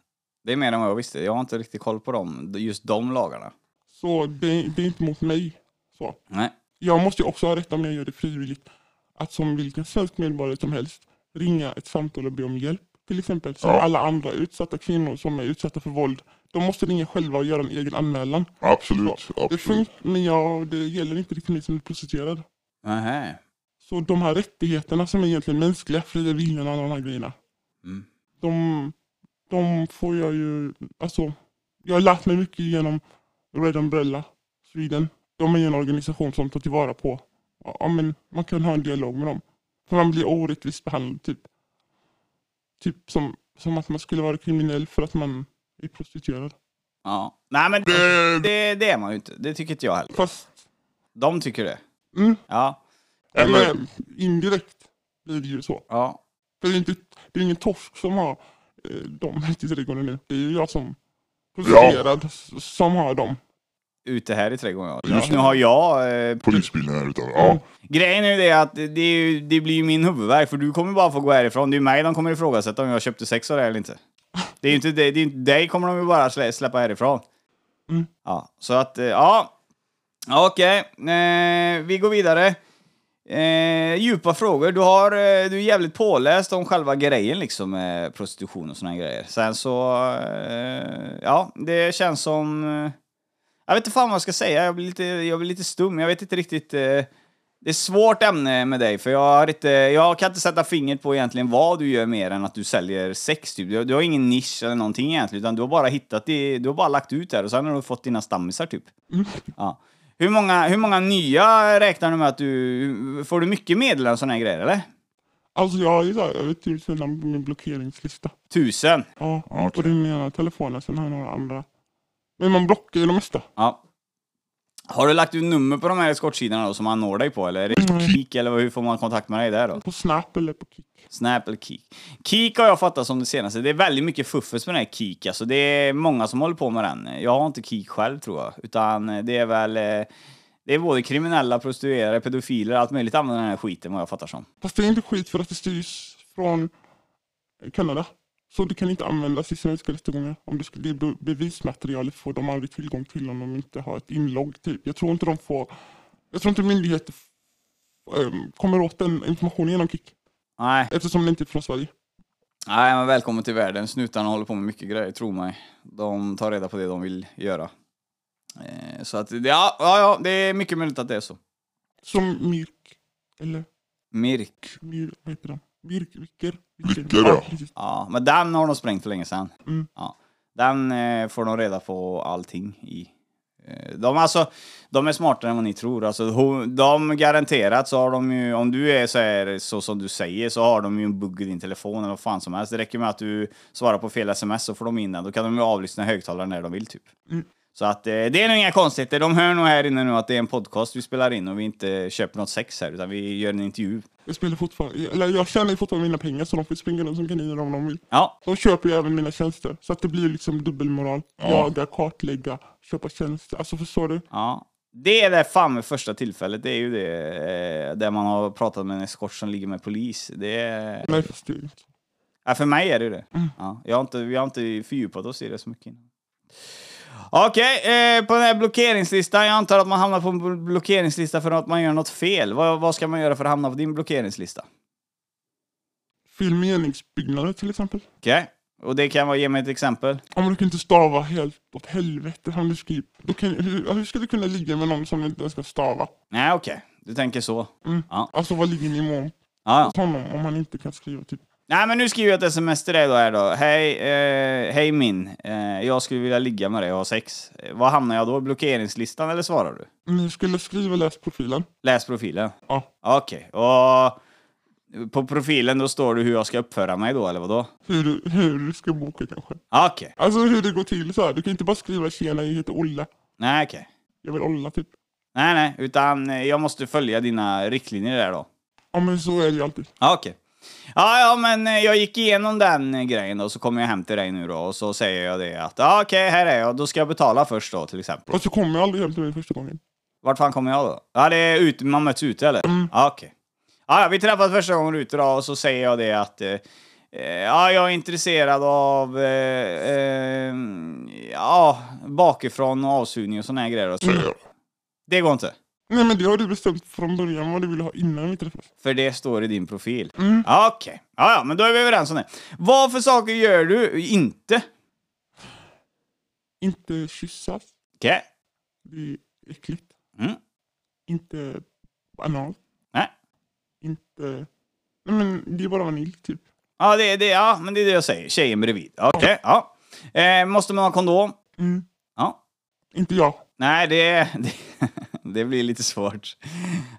S3: Det är mer än vad jag visste. Jag har inte riktigt koll på dem, just de lagarna.
S4: Så det, det är inte mot mig. Så.
S3: Nej.
S4: Jag måste ju också ha rätt om jag gör det frivilligt. Att som vilken svensk medborgare som helst ringa ett samtal och be om hjälp. Till exempel som
S5: Ja.
S4: alla andra utsatta kvinnor som är utsatta för våld. De måste ringa själva och göra en egen anmälan.
S5: absolut,
S4: Det
S5: absolut.
S4: funkar, men jag, det gäller inte riktigt mig som är prostituerad.
S3: Nähä.
S4: Så de här rättigheterna som är egentligen mänskliga, fria viljan och alla de här grejerna.
S3: Mm.
S4: De, de får jag ju, alltså, jag har lärt mig mycket genom Red Umbrella Sweden. De är ju en organisation som tar tillvara på, ja men man kan ha en dialog med dem. För man blir orättvist behandlad typ. Typ som, som att man skulle vara kriminell för att man är prostituerad.
S3: Ja. Nej men det, det, det är man ju inte. Det tycker inte jag heller.
S4: Fast,
S3: De tycker det.
S4: mm,
S3: Ja.
S4: eller indirekt blir det ju så.
S3: Ja.
S4: För det är, inte, det är ingen torsk som har eh, dem <laughs> ute i trädgården nu. Det är ju jag som prostituerad s- som har dem.
S3: Ute här i trädgården, ja.
S5: Just
S3: Just nu har jag... Eh,
S5: Polisbilen här utav. Ja,
S3: grejen är ju det att det, är ju, det blir ju min huvudvärk, för du kommer bara få gå härifrån. Det är ju mig de kommer ifrågasätta om jag köpte sex av det eller inte. Det är ju inte det, det är ju inte dig kommer de ju bara slä, släppa härifrån.
S4: Mm.
S3: Ja, så att, eh, ja. Okej, eh, vi går vidare. Eh, djupa frågor. Du, har, eh, du är jävligt påläst om själva grejen liksom med prostitution och såna grejer. Sen så, eh, ja, det känns som... Eh, jag vet inte fan vad jag ska säga, jag blir lite, jag blir lite stum. Jag vet inte riktigt... Eh, det är ett svårt ämne med dig, för jag, har inte, jag kan inte sätta fingret på egentligen vad du gör mer än att du säljer sex. Typ. Du, du har ingen nisch eller någonting egentligen, utan du har bara hittat det, du har bara lagt ut det här och sen har du fått dina stammisar typ. Ja. Hur, många, hur många nya räknar du med att du... Får du mycket medel och såna här grejer, eller?
S4: Alltså jag har ju såhär över tusen namn på min blockeringslista.
S3: Tusen?
S4: Ja,
S5: Okej.
S4: på den ena telefonen, sen har jag några andra. Men man blockar ju det mesta.
S3: Ja. Har du lagt ut nummer på de här eskortsidorna då som man når dig på eller? Är det Kik eller hur får man kontakt med dig där då?
S4: På Snap eller på Kik.
S3: Snap eller Kik? Kik har jag fattat som det senaste. Det är väldigt mycket fuffes med den här Kik. Alltså det är många som håller på med den. Jag har inte Kik själv tror jag. Utan eh, det är väl... eh, Det är både kriminella, prostituerade, pedofiler, allt möjligt använder den här skiten vad jag fattar som.
S4: Fast det är inte skit för att det styrs från Kanada. Så det kan inte användas i svenska rättegångar. Om det skulle bli bevismaterialet får de aldrig tillgång till om de inte har ett inlogg. Typ. Jag tror inte de får... Jag tror inte myndigheter ehm, kommer åt den informationen genom Kik.
S3: Nej,
S4: Eftersom det inte är från Sverige.
S3: nej men välkommen till världen. Snutarna håller på med mycket grejer, tro mig. De tar reda på det de vill göra. Eh, Så att, det- ja, ja, ja, det är mycket möjligt att det är så.
S4: Som Mirk. Eller
S3: Mirk.
S4: Myr... Vad heter de? Mirk, Vicker.
S5: Vicker, ja.
S4: precis.
S3: Ja, men den har de sprängt för länge sedan.
S4: Mm.
S3: Ja. Den eh, får de reda på allting i. Eh, De, alltså, de är smartare än vad ni tror. Alltså, ho- de garanterat så har de ju, om du är så, här, så som du säger, så har de ju en bugg i din telefon eller vad fan som helst. Det räcker med att du svarar på fel sms så får de in den. Då kan de ju avlyssna högtalaren när de vill typ.
S4: Mm.
S3: Så att eh, det är nog inga konstigheter. De hör nog här inne nu att det är en podcast vi spelar in och vi inte köper något sex här utan vi gör en intervju.
S4: Jag spelar fortfarande... Eller jag tjänar ju fortfarande mina pengar så de får springa runt som kaniner om de vill.
S3: Ja,
S4: De köper ju även mina tjänster. Så att det blir liksom dubbelmoral. Jaga, kartlägga, köpa tjänster. Alltså förstår du?
S3: Ja. Det är det fan med första tillfället, det är ju det eh, där man har pratat med en eskort som ligger med polis. Det är...
S4: Nej fast det är inte.
S3: ja, för mig är det ju det. Ja, jag har inte, vi har inte fördjupat oss i det så mycket innan. Okej, eh, på den här blockeringslistan, jag antar att man hamnar på en bl- blockeringslista för att man gör något fel. Vad, vad ska man göra för att hamna på din blockeringslista?
S4: Fyll meningsbyggnader till exempel.
S3: Okej, och det kan vara, ge mig ett exempel.
S4: Om du kan inte stava helt åt helvete som du skriver. Då kan, hur, hur ska du kunna ligga med någon som inte ens ska stava?
S3: Nej, okej, du tänker så.
S4: Mm.
S3: Ja.
S4: Alltså vad ligger nivån
S3: Ja, ja.
S4: hos honom om han inte kan skriva typ?
S3: Nej men nu skriver jag ett sms till dig då här då. Hej, eh, hej min. Eh, jag skulle vilja ligga med dig och ha sex. Eh, Var hamnar jag då? Blockeringslistan eller svarar du?
S4: Ni skulle skriva läs profilen.
S3: Läs profilen.
S4: Ja.
S3: Okej, och på profilen då står det hur jag ska uppföra mig då eller vadå?
S4: Hur, du- hur du ska boka kanske.
S3: Okej,
S4: Alltså hur det går till så här. Du kan inte bara skriva tjena jag heter Olle.
S3: nej okej.
S4: Jag vill olla typ.
S3: Nej nej, utan eh, jag måste följa dina riktlinjer där då.
S4: Ja men så är det ju alltid.
S3: Ja, Okej. Ja, ja, men eh, jag gick igenom den eh, grejen då, så kommer jag hem till dig nu då och så säger jag det att ja, okej, här är jag, då ska jag betala först då till exempel.
S4: Och så kommer jag aldrig hem till dig första gången.
S3: Vart fan kommer jag då? Ja, det är ut, man möts ute eller? Ja, okej. Ja, ja, vi träffas första gången ute då och så säger jag det att eh, eh, ja, jag är intresserad av eh, eh, ja, bakifrån och avsugning och såna här grejer. då. Så,
S5: säger jag.
S3: det går inte.
S4: Nej men det har du bestämt från början vad du ville ha innan vi träffas.
S3: För det står i din profil. Ja, Okej. Ja, ja, men då är vi överens om det. Vad för saker gör du inte?
S4: Inte kyssas,
S3: Okej.
S4: det är äckligt.
S3: Mm.
S4: Inte anal.
S3: Nej.
S4: Inte... Nej men det är bara vanilj typ.
S3: Ja, det, det, ja, men det är det jag säger. Tjejen bredvid. Okej, ja. Eh, måste man ha kondom?
S4: Mm.
S3: Ja.
S4: Inte jag.
S3: Nej, det, det, <laughs> det blir lite svårt.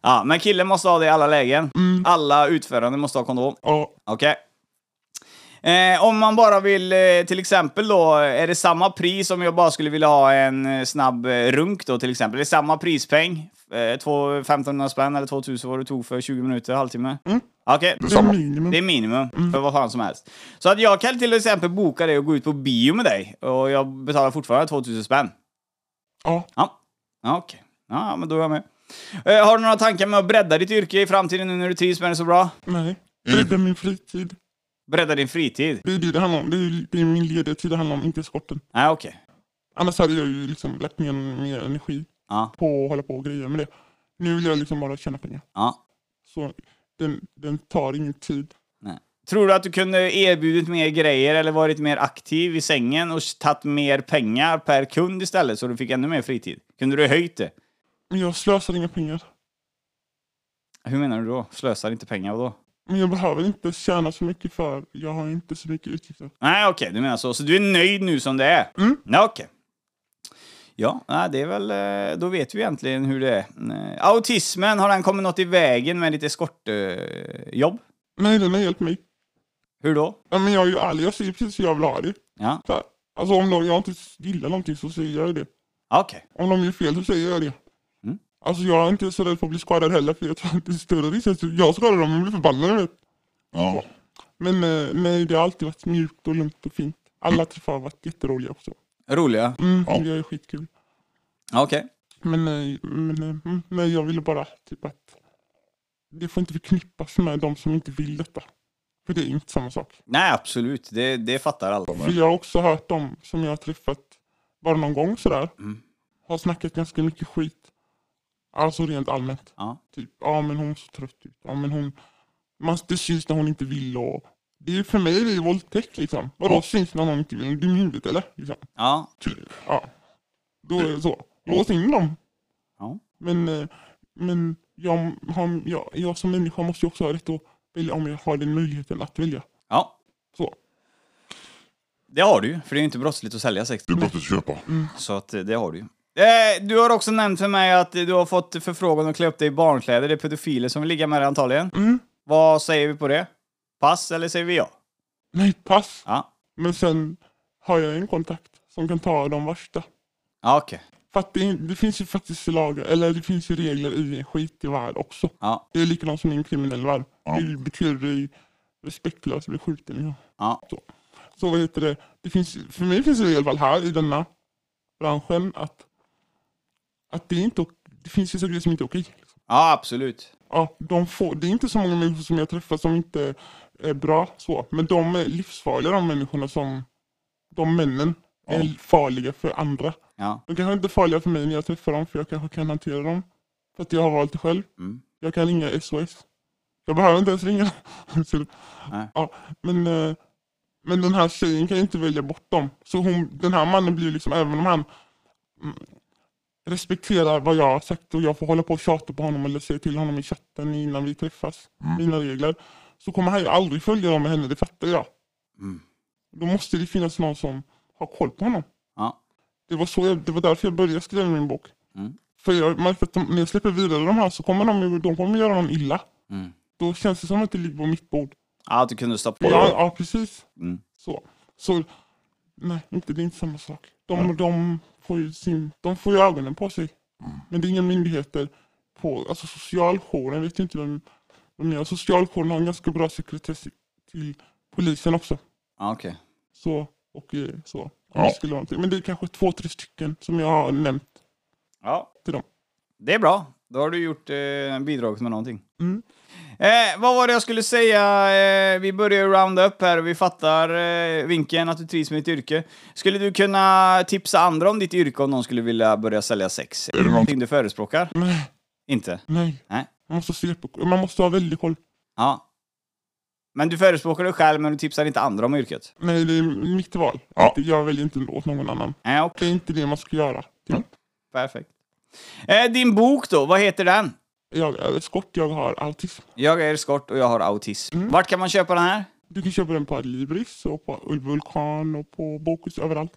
S3: Ja, men killen måste ha det i alla lägen.
S4: Mm.
S3: Alla utförande måste ha kondom.
S4: Ja.
S3: Okej. Eh, om man bara vill, eh, till exempel då, är det samma pris om jag bara skulle vilja ha en eh, snabb eh, runk då till exempel? Är det samma prispeng? Eh, två- 1500 spänn eller 2000 vad du tog för 20 minuter, halvtimme?
S4: Mm.
S3: Okej,
S4: Det är Mm. minimum.
S3: det är minimum för vad fan som helst. Så att jag kan till exempel boka dig och gå ut på bio med dig och jag betalar fortfarande 2000 spänn.
S4: Ja.
S3: Ja, ja okej. Ja, men då är jag med. Eh, har du några tankar med att bredda ditt yrke i framtiden nu när du trivs med det så bra?
S4: Nej. Bredda min fritid.
S3: Bredda din fritid?
S4: Det är det det handlar om. Det är, det är min lediga tid det handlar om, inte skotten.
S3: Nej, okej.
S4: Annars hade jag ju liksom lagt ner mer energi
S3: Ja.
S4: på att hålla på och grejer med det. Nu vill jag liksom bara tjäna pengar.
S3: Ja.
S4: Så den, den tar ingen tid.
S3: Nej. Tror du att du kunde erbjudit mer grejer eller varit mer aktiv i sängen och tagit mer pengar per kund istället så du fick ännu mer fritid? Kunde du höjt det?
S4: Men jag slösar inga pengar.
S3: Hur menar du då? Slösar inte pengar vadå?
S4: Men jag behöver inte tjäna så mycket för jag har inte så mycket utgifter.
S3: Nej, okej, du menar så. Så du är nöjd nu som det är?
S4: Mm.
S3: Ja, okej. Ja, nej, det är väl... eh, Då vet vi egentligen hur det är. Eh, Autismen, har den kommit något i vägen med lite eskortjobb?
S4: Nej, den har hjälpt mig.
S3: hur då?
S4: Ja, men jag är ju ärlig, jag säger precis hur jag vill ha det.
S3: Ja,
S4: Så här, Alltså om de, jag inte gillar någonting så säger jag det.
S3: ah, okej.
S4: Om de gör fel så säger jag det. Alltså jag är inte så rädd för att bli skadad heller för jag tror att det är större risk att jag skadar dem och blir förbannad vet.
S5: ja.
S4: Men eh, nej, det har alltid varit mjukt och lugnt och fint. Alla träffar har varit jätteroliga också.
S3: Roliga?
S4: Mm,
S5: Ja.
S4: Det är skitkul.
S3: Ah, Okej.
S4: Men, eh, men, eh, mm, men jag ville bara typ att det får inte förknippas med de som inte vill detta. För det är inte samma sak.
S3: Nej, absolut. Det, det fattar alla.
S4: För jag har också hört dem som jag har träffat bara någon gång sådär.
S3: Mm.
S4: Har snackat ganska mycket skit. Alltså rent allmänt.
S3: Ja.
S4: Typ, ja men hon är så trött ut. Ja men hon... Man, det syns när hon inte vill och... Det är ju för mig det är våldtäkt liksom. Vadå syns när någon inte vill? Det är huvudet eller? Liksom.
S3: Ja.
S4: Ja. Då är det så. Lås in dem.
S3: Ja.
S4: Men, eh, men jag, har, jag, jag som människa måste ju också ha rätt att välja om jag har den möjligheten att välja.
S3: ja.
S4: Så.
S3: Det har du ju, för det är ju inte brottsligt att sälja sex.
S5: Det är brottet att köpa.
S3: Så att eh, det har du ju. Eh, Du har också nämnt för mig att eh, du har fått förfrågan att klä upp dig i barnkläder. Det är pedofiler som vill ligga med dig antagligen.
S4: Mm.
S3: Vad säger vi på det? Pass eller säger vi ja?
S4: Nej, pass.
S3: Ja.
S4: Men sen har jag en kontakt som kan ta de värsta.
S3: Ja, okej.
S4: För att det, det finns ju faktiskt lagar, eller det finns ju regler i en skitig värld också.
S3: Ja.
S4: Det är likadant som i en kriminell värld.
S5: Ja.
S4: Det betyder ju respektlöst att bli skjuten. Ja.
S3: Ja.
S4: Så. så vad heter det? det finns, för mig finns det i alla fall här i denna branschen att, att det, är inte, ok- det finns ju saker som inte är okej. liksom.
S3: Ja, absolut.
S4: Ja, de får, det är inte så många människor som jag träffar som inte är bra så. Men de är livsfarliga de människorna som, de männen, är farliga för andra.
S3: Ja.
S4: De kanske inte är farliga för mig när jag träffar dem för jag kanske kan hantera dem. För att jag har valt det själv.
S3: Mm.
S4: Jag kan ringa SOS. Jag behöver inte ens ringa. <laughs> Så-
S3: Nej.
S4: ja, men, eh, men den här tjejen kan ju inte välja bort dem. Så hon, den här mannen blir ju liksom, även om han mm, respekterar vad jag har sagt och jag får hålla på och tjata på honom eller säga till honom i chatten innan vi träffas,
S3: Mm.
S4: mina regler. Så kommer han ju aldrig följa dem med henne, det fattar jag.
S3: Mm.
S4: Då måste det finnas någon som har koll på honom.
S3: Ja.
S4: Det var, så jag, det var därför jag började skriva min bok.
S3: Mm.
S4: För jag märkte att de, när jag släpper vidare de här så kommer de, ju- de kommer göra någon illa.
S3: Mm.
S4: Då känns det som att det ligger på mitt bord.
S3: Ja, att du kunde stå på.
S4: Ja, ja precis.
S3: Mm.
S4: Så. så, nej, inte, det är inte samma sak. De, de, får ju sin, de får ju ögonen på sig.
S3: Mm.
S4: Men det är inga myndigheter på, alltså socialjouren vet ju inte vem, vem jag är. Socialjouren har en ganska bra sekretess till polisen också.
S3: Ja, okej.
S4: Så, och eh, så.
S5: Ja.
S4: Det skulle vara någonting. Men det är kanske två, tre stycken som jag har nämnt.
S3: Ja.
S4: Till dem.
S3: Det är bra. Då har du gjort eh, bidragit med någonting.
S4: Mm.
S3: Eh, vad var det jag skulle säga? Eh, vi börjar rounda upp här och vi fattar eh, vinkeln att du trivs med ditt yrke. Skulle du kunna tipsa andra om ditt yrke om någon skulle vilja börja sälja sex? Är det någonting du förespråkar?
S4: Nej,
S3: Inte?
S4: nej.
S3: Nej.
S4: Man måste se på, man måste ha väldigt koll.
S3: Ja. Men du förespråkar det själv, men du tipsar inte andra om yrket?
S4: Nej, det är mitt val.
S5: Ja.
S4: Det- Jag väljer inte åt någon annan.
S3: Nej, Eh, okej.
S4: Det är inte det man ska göra. Typ.
S3: Perfekt. Eh, din bok då, vad heter den?
S4: Jag är skott, jag har autism.
S3: Jag är skort och jag har autism. Vart kan man köpa den här?
S4: Du kan köpa den på Adlibris och på Vulkan och på Bokus överallt.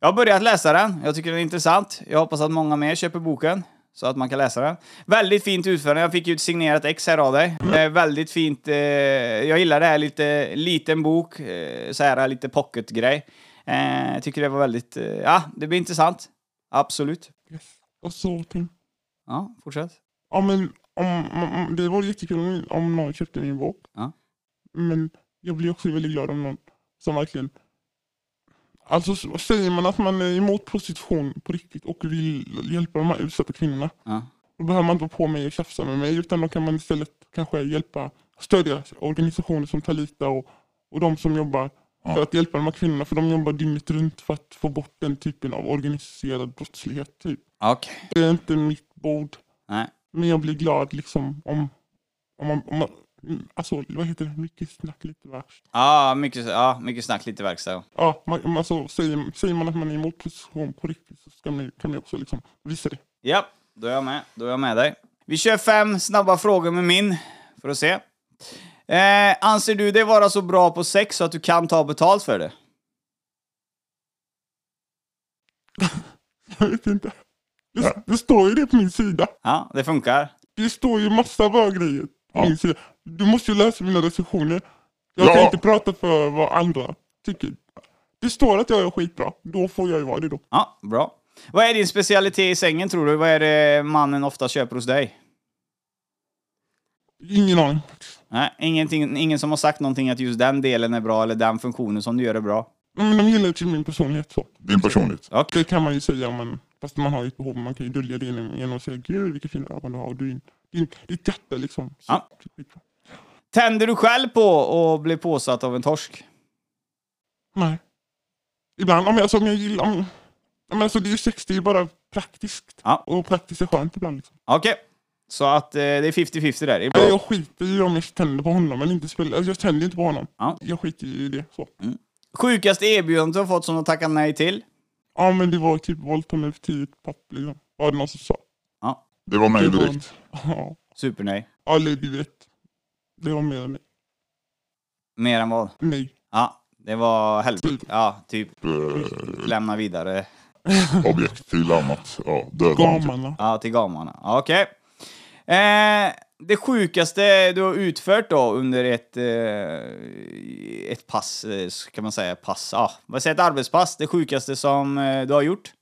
S3: Jag har börjat läsa den. Jag tycker den är intressant. Jag hoppas att många mer köper boken så att man kan läsa den. Väldigt fint utförande. Jag fick ju ett signerat ex här av dig. Eh, väldigt fint. Eh, jag gillar det här lite liten bok, eh, så här lite pocketgrej. Eh, jag tycker det var väldigt... Eh, ja, det blir intressant. Absolut.
S4: Yes. Och så ting.
S3: Ja, fortsätt.
S4: Ja men om, om, om, det vore jättekul om, om någon köpte min bok.
S3: Ja.
S4: Men jag blir också väldigt glad om någon som verkligen... Alltså så- säger man att man är emot prostitution på riktigt och vill hjälpa de här utsatta kvinnorna.
S3: Ja.
S4: Då behöver man inte vara på mig och tjafsa med mig utan då kan man istället kanske hjälpa, stödja organisationer som Talita och, och de som jobbar för att hjälpa de här kvinnorna för de jobbar dygnet runt för att få bort den typen av organiserad brottslighet. Typ.
S3: Okej.
S4: Det är inte mitt bord.
S3: Nej.
S4: Men jag blir glad liksom om, om man, om man mm, alltså vad heter det, mycket snack lite värst.
S3: Ja, mycket, ja, mycket snack, lite verkstad.
S4: Ja, man, man- alltså, säger, säger man att man är emot prostitution på riktigt så ska man, kan man också liksom visa det. <laughs>
S3: Ja, då är jag med. Då är jag med dig. Vi kör fem snabba frågor med min, för att se. Eh, anser du dig vara så bra på sex så att du kan ta betalt för det?
S4: Jag vet inte. Det, det står ju det på min sida.
S3: Ja, det funkar.
S4: Det står ju massa bra grejer på
S5: Ja.
S4: min sida. Du måste ju läsa mina recensioner. Jag kan
S5: Ja.
S4: inte prata för vad andra tycker. Det står att jag är skitbra, då får jag ju vara det då.
S3: Ja, bra. Vad är din specialitet i sängen tror du? Vad är det mannen ofta köper hos dig?
S4: Ingen aning.
S3: Nej, ingenting, ingen som har sagt någonting att just den delen är bra eller den funktionen som du gör är bra.
S4: Nej, Men de gillar ju till min personlighet så.
S5: Din personlighet.
S4: Det kan man ju säga om man, fast man har ju ett behov, man kan ju dölja det genom genom att säga gud vilka fina ögon du har och din, din, ditt hjärta liksom. Så,
S3: Ja.
S4: typ.
S3: Tänder du själv på och blir påsatt av en torsk?
S4: Nej. Ibland, om jag, alltså, om jag gillar, om, om, alltså, det är ju sex, det är ju bara praktiskt.
S3: Ja.
S4: Och praktiskt är skönt ibland liksom.
S3: Okej, så att eh, det är 50-50 där. Det är
S4: Nej,
S3: bra.
S4: Jag skiter ju om jag tänder på honom eller inte. Spelar, alltså, jag tänder inte på honom.
S3: Ja.
S4: Jag skiter ju i det. Så.
S3: Sjukaste erbjudandet du har fått som du tackat nej till?
S4: Ja men det var typ våldta mig för tio papp liksom. Var det någon som sa.
S5: Det var mig
S4: Det var-
S5: direkt.
S4: Ja.
S3: Supernej.
S4: Ja, eller du vet. Det var mer än
S3: Mer än vad?
S4: nej.
S3: Ja, det var helvete.
S4: Typ.
S3: Ja, typ.
S5: Eh,
S3: Lämna vidare.
S5: objekt till annat. Ja, döda annat.
S4: Gamarna.
S3: Ja, till gamarna. Ja, Okej. Eh, det sjukaste du har utfört då under ett, eh, ett pass, eh, kan man säga, pass, ah, vad säger jag, ett arbetspass, det sjukaste som eh, du har gjort?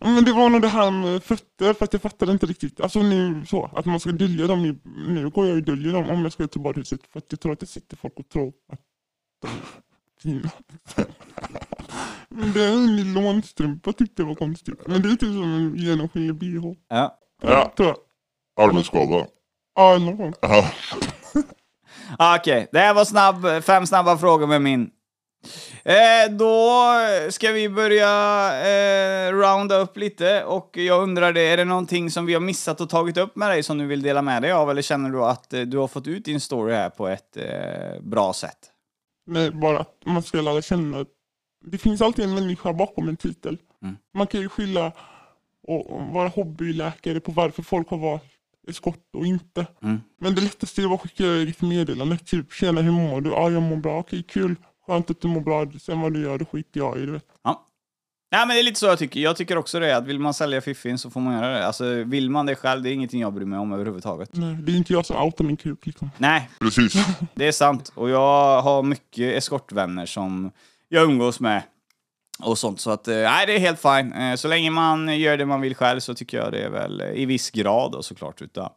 S4: Ja, Men det var nog det här med fötter, för att jag fattade inte riktigt. Alltså nu så, att man ska dölja dem. i- Nu går jag ju och döljer dem om jag ska till badhuset. För att jag tror att det sitter folk och tror att de är fina. <laughs> Men det är en lånstrumpa tyckte jag var konstigt. Men det är typ som en genomskinlig bh.
S3: Ja.
S5: Ja.
S4: Tror jag.
S5: Arbetsskada.
S4: Ja, någon gång.
S5: Ja.
S3: Ah, Okej, det här var snabb, fem snabba frågor med min. Eh, då ska vi börja eh, rounda upp lite och jag undrar det, är det någonting som vi har missat och tagit upp med dig som du vill dela med dig av eller känner du att eh, du har fått ut din story här på ett eh, bra sätt?
S4: Nej, bara att man ska lära känna. Det finns alltid en människa bakom en titel.
S3: Mm.
S4: Man kan ju skilja och och vara hobbyläkare på varför folk har varit skott och inte.
S3: Mm.
S4: Men det lättaste är att skicka ett meddelande. Typ, tjena hur mår du? Ja, jag mår bra. Okej, kul. Skönt att du mår bra. Sen vad du gör, det skiter jag i. Du vet.
S3: Nej men det är lite så jag tycker. Jag tycker också det, att vill man sälja fiffin så får man göra det. Alltså vill man det själv, det är ingenting jag bryr mig om överhuvudtaget.
S4: Nej, det är inte jag som outar min kuk liksom.
S3: Nej,
S5: Precis.
S3: det är sant. Och jag har mycket eskortvänner som jag umgås med och sånt. Så att, eh, nej det är helt fine. Eh, Så länge man gör det man vill själv så tycker jag det är väl eh, i viss grad då såklart. Utan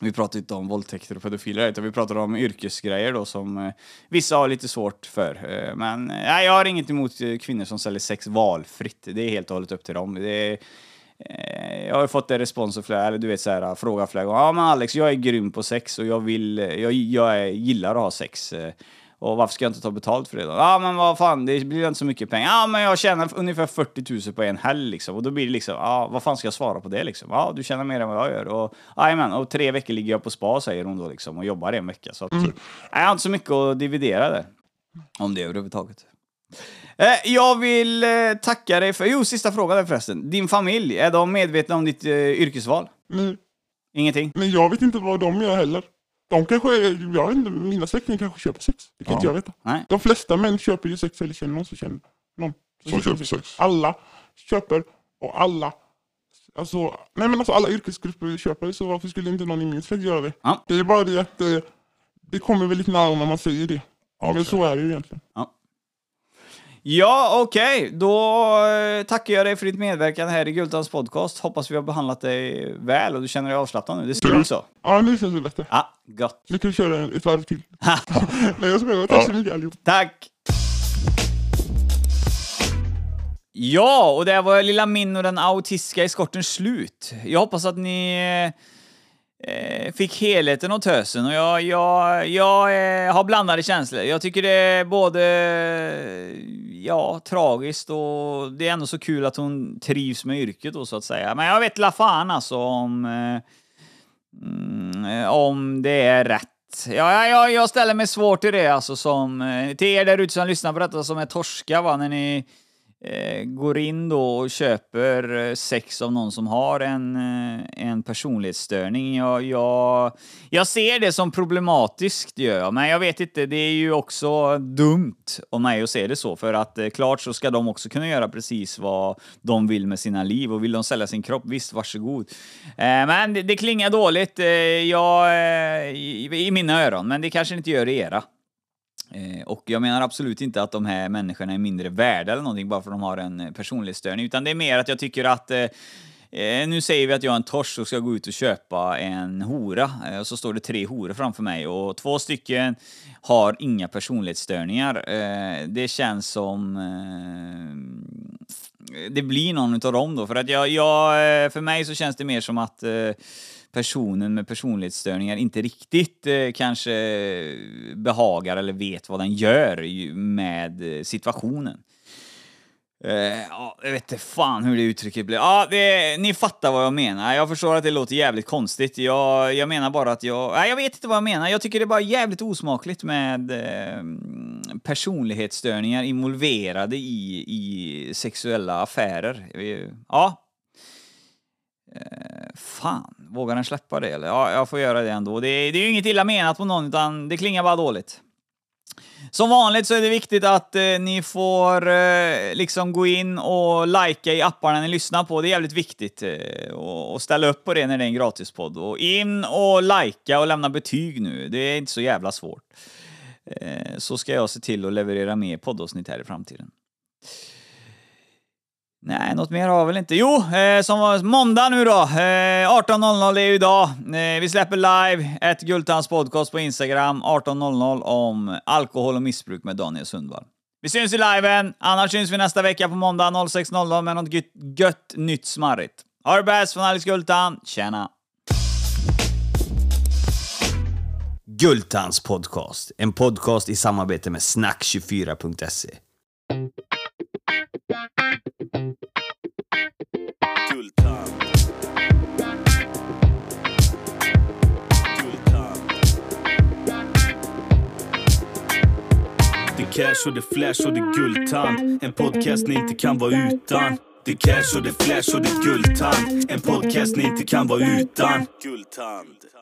S3: vi pratar inte om våldtäkter och pedofiler här, utan vi pratar om yrkesgrejer då som eh, vissa har lite svårt för. Eh, men eh, nej, jag har inget emot eh, kvinnor som säljer sex valfritt. Det är helt och hållet upp till dem. Det är, eh, jag har ju fått det responsen flera, eller du vet så här, eh, fråga flera gånger. Ja men Alex, jag är grym på sex och jag vill, eh, jag, jag är, gillar att ha sex. eh, Och varför ska jag inte ta betalt för det då? Ja men vad fan, det blir inte så mycket pengar. Ja men jag tjänar ungefär 40 000 på en helg liksom. Och då blir det liksom, ja vad fan ska jag svara på det liksom? Ja du tjänar mer än vad jag gör. Och jajamän, och tre veckor ligger jag på spa säger hon då liksom och jobbar en vecka. Så att, nej, jag har inte så mycket att dividera där. Om det överhuvudtaget. Eh, Jag vill eh, tacka dig för... Jo, sista frågan där förresten. Din familj, är de medvetna om ditt eh, yrkesval?
S4: Men,
S3: Ingenting?
S4: men jag vet inte vad de gör heller. De kanske, jag vet inte, mina släktingar kanske köper sex. Det kan inte jag veta.
S3: Nej.
S4: De flesta män köper ju sex eller känner någon som känner någon.
S5: Som köper sex.
S4: Alla köper och alla, alltså, nej men alltså alla yrkesgrupper köper så varför skulle inte någon i min släkt göra det?
S3: Ja.
S4: Det är bara det att eh, det kommer väldigt nära när man säger det. Men
S5: Okej.
S4: så är det ju egentligen.
S3: Ja, okej. Då eh, tackar jag dig för ditt medverkan här i Gultans podcast. Hoppas vi har behandlat dig väl och du känner dig avslappnad nu. Det ser ut så.
S4: Ja, nu känns det bättre.
S3: Ja, gott.
S4: Nu kan vi köra en- ett varv till. <laughs> nej jag skojar, tack så mycket allihop.
S3: Tack! Ja, och där var lilla Min och den autistiska eskorten slut. Jag hoppas att ni eh, eh, fick helheten och tösen och jag, jag, jag eh, har blandade känslor. Jag tycker det är både eh, ja, tragiskt och det är ändå så kul att hon trivs med yrket då så att säga. Men jag vet la fan alltså om eh, Mm, eh, om det är rätt. Ja, ja, ja, jag ställer mig svårt till det alltså som eh, till er där ute som lyssnar på detta som är torska va, när ni eh, går in då och köper eh, sex av någon som har en, eh, en personlighetsstörning. Jag, jag, jag ser det som problematiskt gör jag, men jag vet inte, det är ju också dumt av mig att se det så, för att eh, klart så ska de också kunna göra precis vad de vill med sina liv och vill de sälja sin kropp, visst varsågod. Eh, men det, det klingar dåligt eh, jag, eh, i, i mina öron, men det kanske inte gör i era. Eh, Och jag menar absolut inte att de här människorna är mindre värda eller någonting bara för att de har en eh, personlighetsstörning, utan det är mer att jag tycker att eh, eh, nu säger vi att jag är en torsk och ska gå ut och köpa en hora, eh, och så står det tre horor framför mig och två stycken har inga personlighetsstörningar. Eh, det känns som... Eh, det blir någon utav dem då, för att jag, jag, eh, för mig så känns det mer som att eh, personen med personlighetsstörningar inte riktigt eh, kanske behagar eller vet vad den gör ju- med eh, situationen. Eh, ja, jag vet inte fan hur det uttrycket blir. Ja, det, ni fattar vad jag menar. Jag förstår att det låter jävligt konstigt. Jag, jag menar bara att jag... Nej, jag vet inte vad jag menar. Jag tycker det är bara jävligt osmakligt med eh, personlighetsstörningar involverade i, i sexuella affärer. Eh, Ja, Fan, vågar den släppa det eller? Ja, jag får göra det ändå. Det, är- det är ju inget illa menat på någon, utan det klingar bara dåligt. Som vanligt så är det viktigt att eh, ni får eh, liksom gå in och likea i apparna ni lyssnar på. Det är jävligt viktigt. Eh, och, och ställa upp på det när det är en gratispodd. Och in och likea och lämna betyg nu. Det är inte så jävla svårt. Eh, så ska jag se till att leverera mer poddavsnitt här i framtiden. Nej, något mer har jag väl inte. Jo, eh, som var måndag nu då. Eh, 18.00 är ju idag. Eh, vi släpper live ett Gultans podcast på Instagram 18.00 om alkohol och missbruk med Daniel Sundvall. Vi syns i liven, annars syns vi nästa vecka på måndag 06.00 med något gött, gött nytt smarrigt. Ha det bäst från Alex Gultan. Tjena!
S2: Gultans podcast, en podcast i samarbete med snack24.se.
S1: Gultan. Gultan. Det är cash och det är flash och det är Gultan. En podcast ni inte kan vara utan. Det är cash och det är flash och det är Gultan. En podcast ni inte kan vara utan. Gultand.